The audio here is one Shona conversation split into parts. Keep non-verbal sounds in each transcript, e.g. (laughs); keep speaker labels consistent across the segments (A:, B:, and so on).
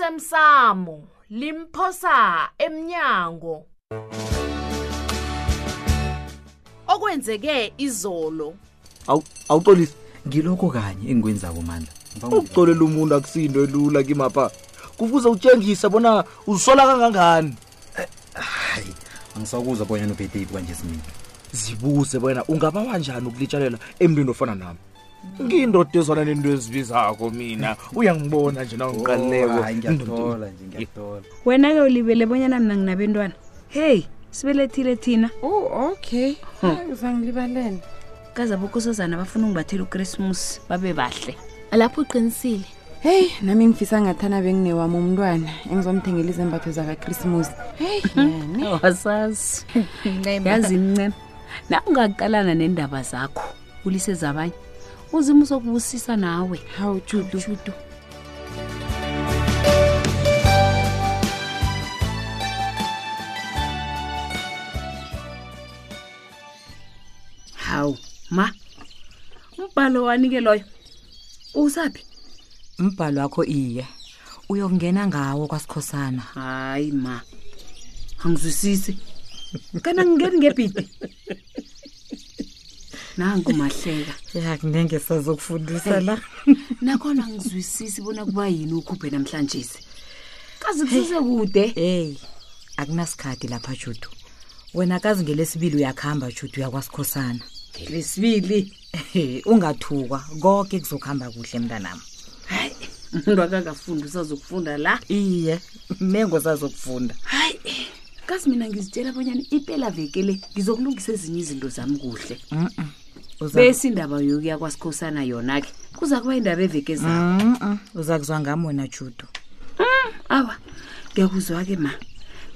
A: osemsamo limphosa emnyango okwenzeke izolo
B: awu awuxolisa
C: ngilokho kanye engikwenzako mandla
D: Oh,
C: Ngibanga ukuthi-
B: ukuxolela umuntu akusinto elula kimapha kufuze utshengise bona uzisola kangangani
C: hayi angisakuzwa bonyana uphethe iphi kwanje simini
B: zibuze wena ungabawa njani ukulitshalela emntwini ofana nami ngiyindoda ezwana nento ezibizako mina uyangibona nje
D: Oh,
B: nawungiqalileko
C: Oh, ngiyathola nje ngiyathola
E: wena-ke ulibele bonyana mna nginabentwana heyi sibelethile thina
F: Oh okay.
G: Hmm.
F: Hayi uzangilibalela.
E: kazabokosazana bafuna ungibathela ukrismus babe bahle
G: lapho uqinisile
F: Hey, nami ngifisa ngathana benginewami umntwana engizomthengela izembatho zaka Christmas. Hey, yani.
E: (laughs) wasazi yazi mncema na ungaqalana neendaba zakho ulise zabanye uzima uzokubusisa nawe
F: Hawu Judu.
E: judu hawu ma umbhalo wanike loyo usaphi
H: umbhalo wakho iye uyokungena ngawo kwasikhosana
E: hayi ma angizwisisi kana ngingeni ngebhidi nangumahleka
H: yakunenge sazokufundisa la
E: nakhona angizwisisi bona kuba yini ukhuphe namhlanje kazi kusese kude
H: eyi akunasikhathi lapha judu wena kazi ngelesibili uyakuhamba judu uyakwasikhosana
E: lesibili
H: Ehe, ungathukwa konke kuzokuhamba kuhle mntanam
E: hayi umuntu akakafundi usazokufunda la
H: iye mengo sazokufunda
E: hayi kazi mina ngizitshela abanyana impela vekele ngizokulungisa ezinye izinto zami kuhle
H: Mm-mm. Uza-
E: bese indaba yokuya kwasikhosana yona-ke kuza kuba indaba eveke zayo
H: Mm. Mm-mm. uza kuzwa ngam wena judu
E: awa ngiyakuzwa-ke ma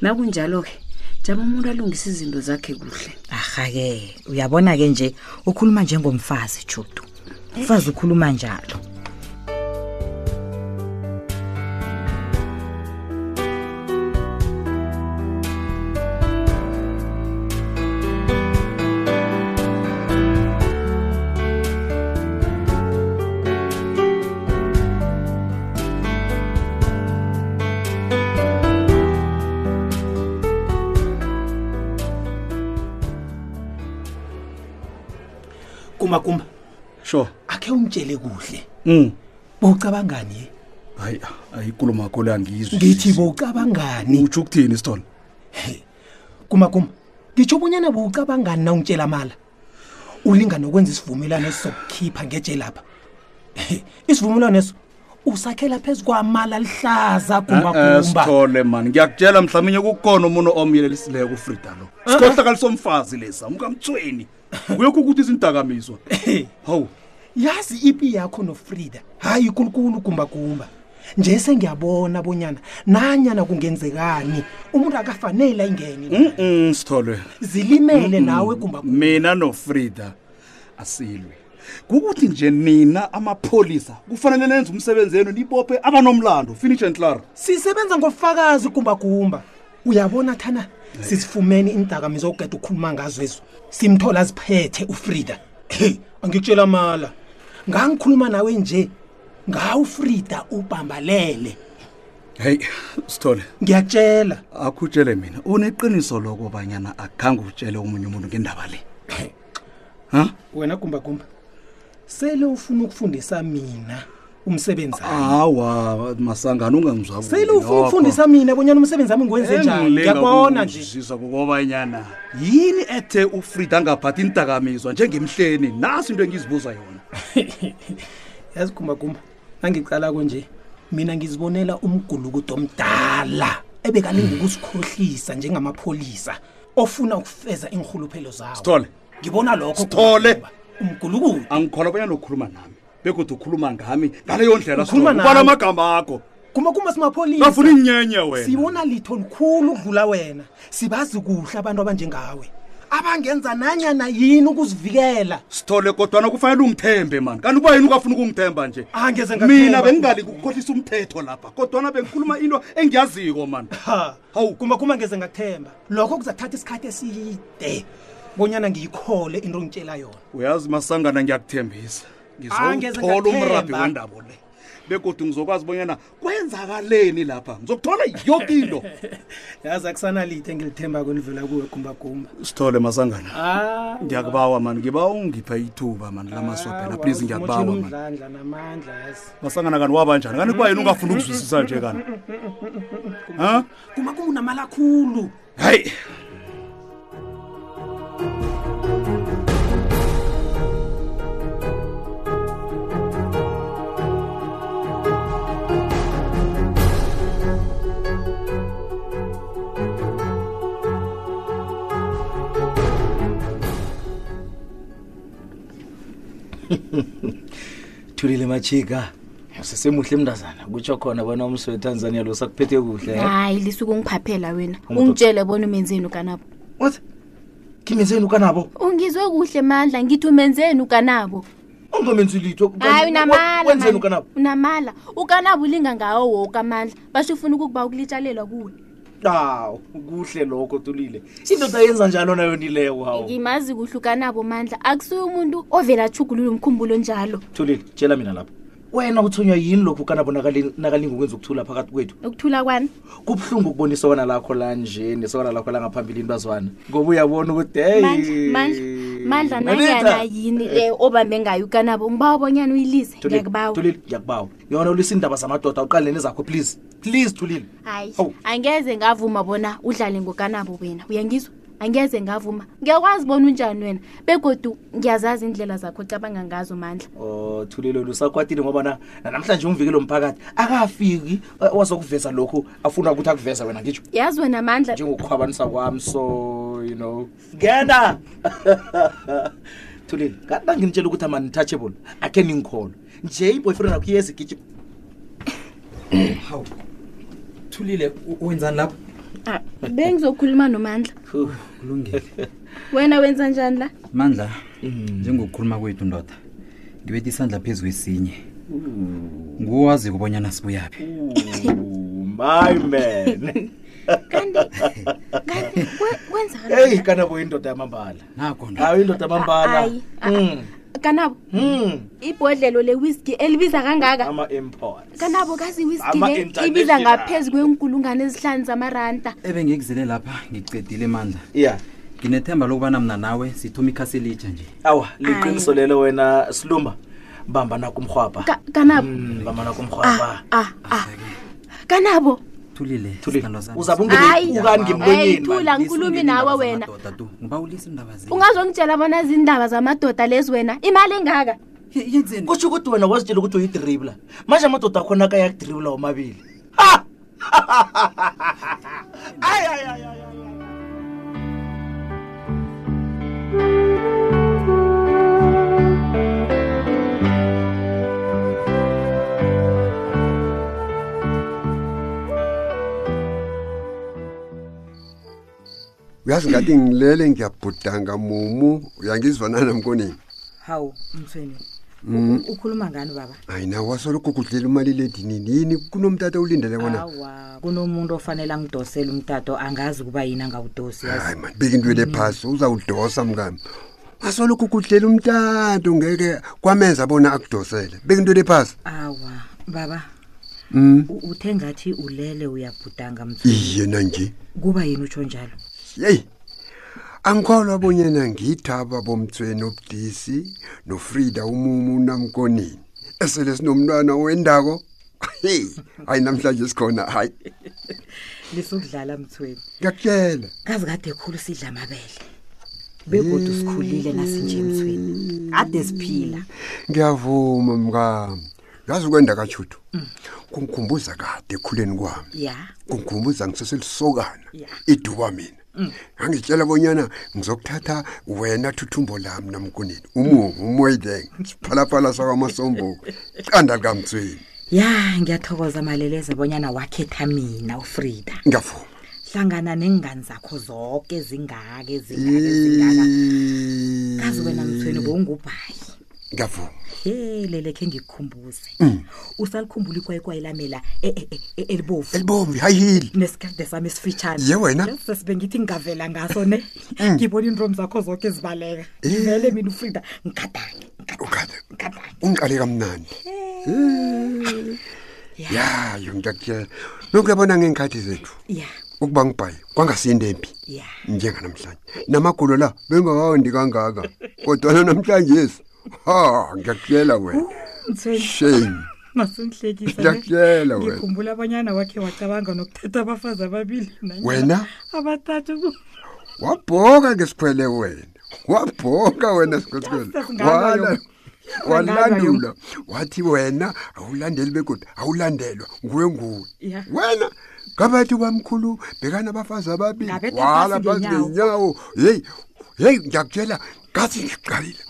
E: nakunjalo-ke jama umuntu alungise izinto zakhe kuhle
H: arha-ke uyabona-ke nje ukhuluma njengomfazi judu umfazi ukhuluma njalo
D: kumakumba
I: sure
D: akhe umtshele kuhle
C: Mm.
I: um
D: bowucabangani ye
I: hayi hayi ikulumo yakho le angizwi
D: ngithi bowucabangani
I: utsho ukuthini isithole
D: kumakuma ngitsho bonyana bowucabangani na ungitshela mala ulinga nokwenza isivumelwano esizokukhipha ngetshe lapha isivumelwano eso usakhela phezu kwamala lihlaza
I: Eh, eh,
D: kumakumba
I: Sithole, man ngiyakutshela mhlawuminye kukhona umuntu omyelelisileyo kufrida lo
D: Eh,
I: sikhohlakali somfazi lesa umkamtsweni kuyekho ukuthi zindakamiswa hawu
D: yazi ipi yakho nofrida hhayi ikulukulu kumbakumba nje sengiyabona bonyana nanyana kungenzekani umuntu akafanele ayingene
I: mm, sithole
D: zilimele nawe kumbakumba
I: mina nofrida asilwe kukuthi nje nina amapholisa kufanele nenze umsebenzi enu nibophe abanomlando finish and clar
D: sisebenza ngofakazi kumbagumba uyabona thana sisifumene iindakamizo okugeda ukhuluma ngazo ezo simthola aziphethe ufrida hey angikutshela mala ngangikhuluma nawe nje ngawufrida ubhambalele
I: heyi sithole
D: ngiyakutshela
I: akutshele mina uneqiniso lokobanyana akhange utshele omunye umuntu ngendaba le ha
D: wena gumbagumba sele ufuna ukufundisa mina umsebenzi
I: hawa masangana ungangizwa
D: sele ufuna ukufundisa mina bonyana umsebenzi wami ngiwenze njani ngiyakubona nje (laughs)
I: ngiyakubonazizwa kokobanyana yini ethe ufrida angaphathi intakamizwa njengemhleni nasi into engizibuza yona
D: yazi gumbagumba nangiqalako nje mina ngizibonela umgulukudo omdala ebekalinga ukusikhohlisa njengamapholisa ofuna ukufeza iinrhuluphelo zawo
I: sithole
D: ngibona lokho
I: Sithole.
D: Gumbagumba. umgulukudo
I: angikhola banyana ukhuluma nami begodwa ukhuluma ngami ngaleyo ndlela
D: Ukhuluma
I: Sithole.
D: nami.
I: Ubala amagama akho
D: gumbagumba
I: ngafuna
D: simapholisa
I: inyenye wena
D: sibona litho likhulu ukudlula wena sibazi kuhle abantu abanjengawe abangenza nanyana yini ukuzivikela
I: sithole kodwana kufanele ungithembe mani kanti uba yini ukafuna ukungithemba nje
D: angeze
I: mina bengingalingi ukukhohlisa umthetho lapha kodwana bengikhuluma into engiyaziko mani
D: hawu gumbagumba ngeze ngakuthemba lokho kuzathatha isikhathi eside bonyana ngiyikhole into ongitshela yona
I: uyazi masangana ngiyakuthembisa
D: Ah, ngeze
I: ngizowuthola umrabhi
D: ngakuthemba.
I: wendabo le begodwa ngizokwazi ubonyana kwenzakaleni lapha ngizokuthola yoke into
J: yazi akusanalithe engilithembako elivela kuwe gumbagumba
I: sithole masangana
J: Ah,
I: ndiyakubawa mani ngiba ungiphe ithuba mani
D: Ah,
I: lamaswabhela please
J: wawusimotshela
I: ngiyakubawa mani
J: umdlandla namandla yazi
I: masangana kani wabanjani kanti kuba yini ungafuni ukuzwisisa nje kani ha
J: gumbagumba unamali akhulu
I: hayi
D: thulile machika usesemuhle mntazana kutsho khona bona umsi wetanzania lo sakuphethe kuhle
G: hayi lisuke ungiphaphela wena
D: Umntu-
G: ungitshele bona umenzeni ukanabo
D: what kimenzeni ukanabo
G: ungizwe kuhle mandla ngithi umenzeni ukanabo
D: ongamenzi litho
G: hayi unamala
D: wenzeni
G: mandla.
D: ukanabo
G: unamala ukanabo ulinga ngawo woke amandla basho ufuna ukukuba ukulitshalelwa kuwe
D: aw kuhle lokho tulile indoda yenza njalo nayo nileyo hawu
G: ngimazi kuhle ukanabo mandla akusuye umuntu ovela ajugulule umkhumbulo njalo
D: thulile tshela mina lapho wena uthonywa yini lokhu ukanabo nakali- nakalinga ukwenza ukuthula phakathi kwethu
G: ukuthula kwani
D: kubuhlungu ukubona isokana lakho lanje nesokana lakho langaphambili intwazwana ngoba uyabona ukuthi
G: mandla mandla mandla nanyana yini le obambe ngayo ukanabo ngiba ubonyana uyilize ngiyakubawa
D: tulile ngiyakubawa yona ulisa indaba zamadoda uqalene nezakho please please thulile
G: hayi
D: Awu.
G: angeze ngavuma bona udlale ngokanabo wena uyangizwa angeze ngavuma ngiyakwazi bona unjani wena begodu ngiyazazi indlela zakho ocabanga ngazo mandla
D: o Oh, thulile lusakwatile ngoba na namhlanje umvikeli womphakathi akafiki eh, wazokuveza lokhu afuna ukuthi akuveza wena ngitsho
G: yazi wena mandla
D: njengokukhwabanisa kwami so you know (laughs) ngena thulile kanti nanginitshela ukuthi ama-untouchable akhe ningikholwe nje iboyfriend akho iyezigijima
C: hawu thulile u- wenzani lapho
G: Ah, bengizokhuluma nomandla
C: kulungile
G: wena wenza njani la
C: mandla
D: Mm.
C: njengokukhuluma kwethu ndoda ngibethe isandla phezu kwesinye
D: Mm.
C: nguwazi kubonyana sibuyaphi
D: my (laughs) man
G: kanti kanti we- wenzani
D: eyi kanabo indoda yamambala
C: nakho ndoda
D: hayi indoda Hmm. yamambala Hmm,
G: Hayi, ah, ah. kanabo ibhodlelo le-whisky elibiza kangaka
D: ama-import
G: kanabo kazi i-whisky
D: Ama-
G: le ibiza
D: international.
G: ngaphezu kwenkulungwane ezihlanu zamaranda
C: ebengikuzele lapha ngicedile mandla
D: ya
C: nginethemba lokubana mna nawe sithuma ikhasi elitsha nje
D: awa liqiniso lelo wena silumba bamba nakumrhwabha
G: Ka- kanabo
D: Mm, bamba nakumrhwabha
G: ah ah kanabo
C: thulile
D: Thulile,
C: sithandwa sami.
D: uzaba
G: Hayi.
D: ungibeukani
G: eyi
D: ngemlonyeni man.
G: thula ngikhulumi nawe wena
C: Madoda tu, ngiba ulisa indaba zethu.
G: ungazongitshela bona zindaba zamadoda lezi wena imali engaka
C: Ye- yenzeni
D: kutsho ukuthi wena wazitshela ukuthi uyidribla manje amadoda akhona akayakudribla womabili Ha! Ay, ay, ay, ay, ay.
K: uyazi ngathi ngilele ngiyabhudanga mumu uyangizwanana mkonini
L: hawu mthweni ukhuluma ngani baba
K: Mm. hayi nawe wasolokhu kudlela umaliledinini yini kunomtata ulindele kona
L: awa kunomuntu ofanele angidosele umtato angazi ukuba yini angawudosi yazi
K: hayi mani bika intwele phasi uzawudosa mkami wasolokhu kudlela umtato ngeke kwamenza bona akudosele bika intwele phasi
L: awa baba
K: um
L: u- uthe ngathi ulele uyabhudanga mthweni
K: iye nanje
L: kuba yini utsho njalo
K: yeyi angikholwa bonyana ngithaba bomthweni obudisi nofrida umumu namkonini esele sinomntwana wendako heyi hayi namhlanje sikhona hayi
L: lisukudlala mthweni
K: ngiyakutshela
L: kazi kade khulu sidla amabele begodwa sikhulile nasinje mthweni ade siphila
K: ngiyavuma mkami yazi ukwenda kajudo kungikhumbuza kade ekhuleni kwami
L: ya
K: kungikhumbuza ngiseselisokana
L: Ya.
K: iduba mina ngangitshela bonyana ngizokuthatha wena thuthumbo lami namkunini umumu umoyideng siphalaphala sakwamasombuko iqanda likamtsweni
L: ya ngiyathokoza maleleza bonyana wakhetha mina ufrida
K: ngiyavuma
L: hlangana nengane zakho zonke ezingaka ezingaka ezingaka kazi wena mthweni
K: ngiyavuma
L: bowungubhayi he lelekhe ngikukhumbuze
K: Mm.
L: usalikhumbula ikwayikwayi lamela e- e- e- e- elibovu
K: elibombi hayihili
L: nesikade sami esifitshane
K: Ye wena. Mm.
L: sesibe ngithi ngingavela ngaso ne ngibona iintomi zakho zonke ezibaleka
K: Eh.
L: ngivele mina ufrida ngigadange ngigadange,
K: ukade
L: ngigadange
K: ungiqale kamnandi
I: Eh, yayo ngiyakutshela lokuyabona ngeenkhathi zethu
M: ya
I: ukuba ngibhayi kwangasiyindembi
M: ya
I: njenganamhlanje namagulo la bengawawandi kangaka kodwana namhlanje ha ngiyakutshela wena shame Ngiyakutshela wena.
L: ngikhumbula abanyana wakhe wacabanga nokuthatha abafazi ababili nanyana
I: Wena?
L: abathathu ku-
I: wabhoka ngesikhwele wena wabhoka wena sikhwesikhwele
L: Ngalayo.
I: walandula wathi wena awulandeli begoda awulandelwa nguwe nguwe
L: Ya.
I: wena ngabathi kwamkhulu bekana abafazi ababili
L: Ngabetha
I: wala
L: phasi
I: phasi
L: ngenyawo.
I: ngenyawo heyi heyi ngiyakutshela ngathi ngiqalile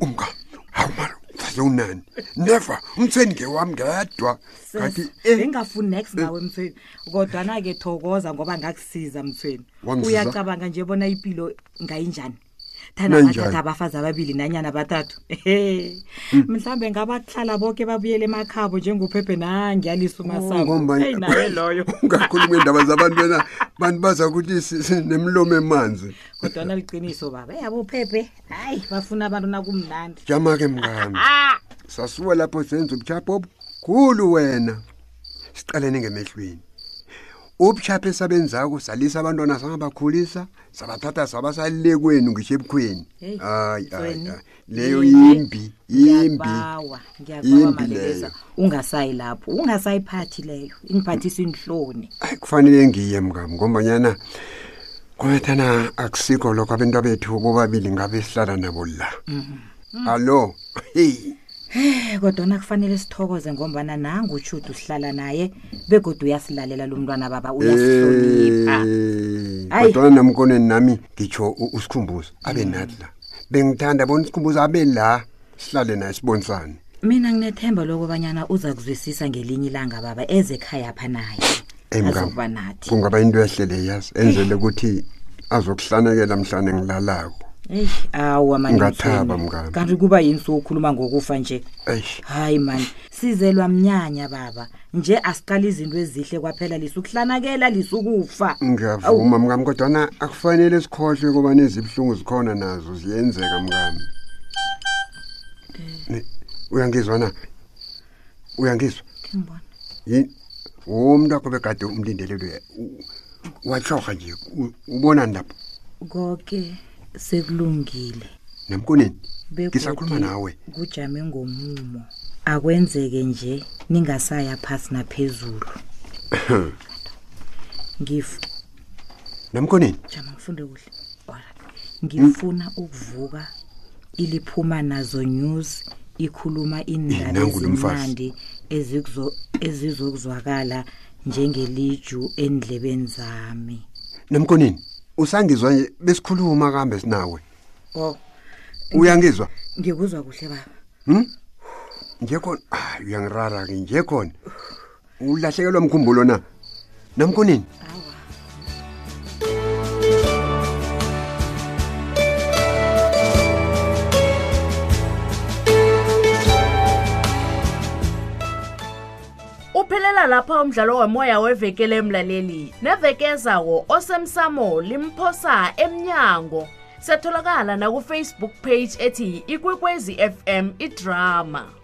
I: umngam hawu mara sazewunani never umthweni ngewami ngedwa kanti eh,
L: bengingafuni next nawe mthweni kodwana-ke thokoza ngoba ngakusiza mthweni
I: Wangisiza?
L: uyacabanga nje bona impilo ngayinjani
I: Nanjani?
L: thanabathatha abafazi ababili nanyana bathathu (laughs) ehe
I: Mm.
L: mhlawumbe ngabahlala boke babuyele emakhabo njengophephe nangiyalisa
I: Ngombana-
L: umasakoeyi naye
I: (laughs)
L: loyo
I: ungakhuluma iindaba zabantu wena bantu baza kuthi si- si- nemilomo emanzi
L: kodwana liqiniso baba eyabophephe hayi bafuna abantu nakumnandi
I: jama ke mngani sasuka lapho senza ubuchapho obukhulu wena siqalene ngemehlweni ubuchapho esabenzako salisa abantwana sangabakhulisa sabathatha sabasalekweni ngisho ebukhweni
L: Hey,
I: hayi hayi
L: Mthweni.
I: hayi. leyo yimbi yimbi
L: ngiyabawa ngiyabawa
I: yimbi
L: maleleza
I: leyo
L: ungasayi lapho ungasayiphathi leyo ingiphathisa inhloni
I: kufanele ngiye mngam ngombanyana kwabethana akusikho lokho abantu bethu bobabili ngabe sihlala nabo la allo heyi
L: Eh, kodwana kufanele sithokoze ngombana nangu utshuti usihlala naye begodwa uyasilalela lo mntwana baba uyasihlonipha
I: Eh,
L: Ayi.
I: kodwana namkoneni nami ngitsho u- usikhumbuzo abe
H: Mm.
I: nathi la bengithanda bona usikhumbuzo abe la sihlale naye sibonisane
L: mina nginethemba lokubanyana uza kuzwisisa ngelinye ilanga baba eze ekhaya pha naye
I: Eyi, mngam,
L: azokuba nathi
I: kungaba into ehle le yazi enzele ukuthi azokuhlanekela mhlane ngilalako
L: eyi awa mani
I: Ungathaba,
L: Mthweni.
I: mngani.
L: kanti kuba yini sokhuluma ngokufa nje
I: eish
L: hayi mani sizelwa mnyanya baba nje asiqali izinto ezihle kwaphela lisukuhlanakela lisukufa
I: Mm. ngiyavuma mngam kodwana akufanele sikhohlwe kobana ezibuhlungu zikhona nazo ziyenzeka mngami Ne- uyangizwa na uyangizwa
L: Ngibona.
I: yini womntu akho begade umlindelelwe watloha nje u- ubonani lapho
L: konke sekulungile
I: namkoneni
L: Begodu
I: ngisakhuluma nawe
L: kujame ngomumo akwenzeke nje ningasaya phasi naphezulu ngif
I: namkoneni
L: jama ngifunde kuhle Alright. ngifuna ukuvuka iliphuma nazo news ikhuluma indaba
I: nangu lo mfazi.
L: ezimnandi ezikuzo- ezizokuzwakala njengeliju endlebeni zami
I: namkoneni usangizwa nje besikhuluma kambe sinawe
L: o
I: uyangizwa
L: ngikuzwa kuhle baba
I: hm nje khona hayi uyangirara ke nje khona ulahlekelwa mkhumbulo na namkoneni
A: uphelela lapha umdlalo womoya wevekele emlaleli neveke ezawo osemsamo limphosa emnyango setholakala nakufacebook page ethi ikwekwezi fm idrama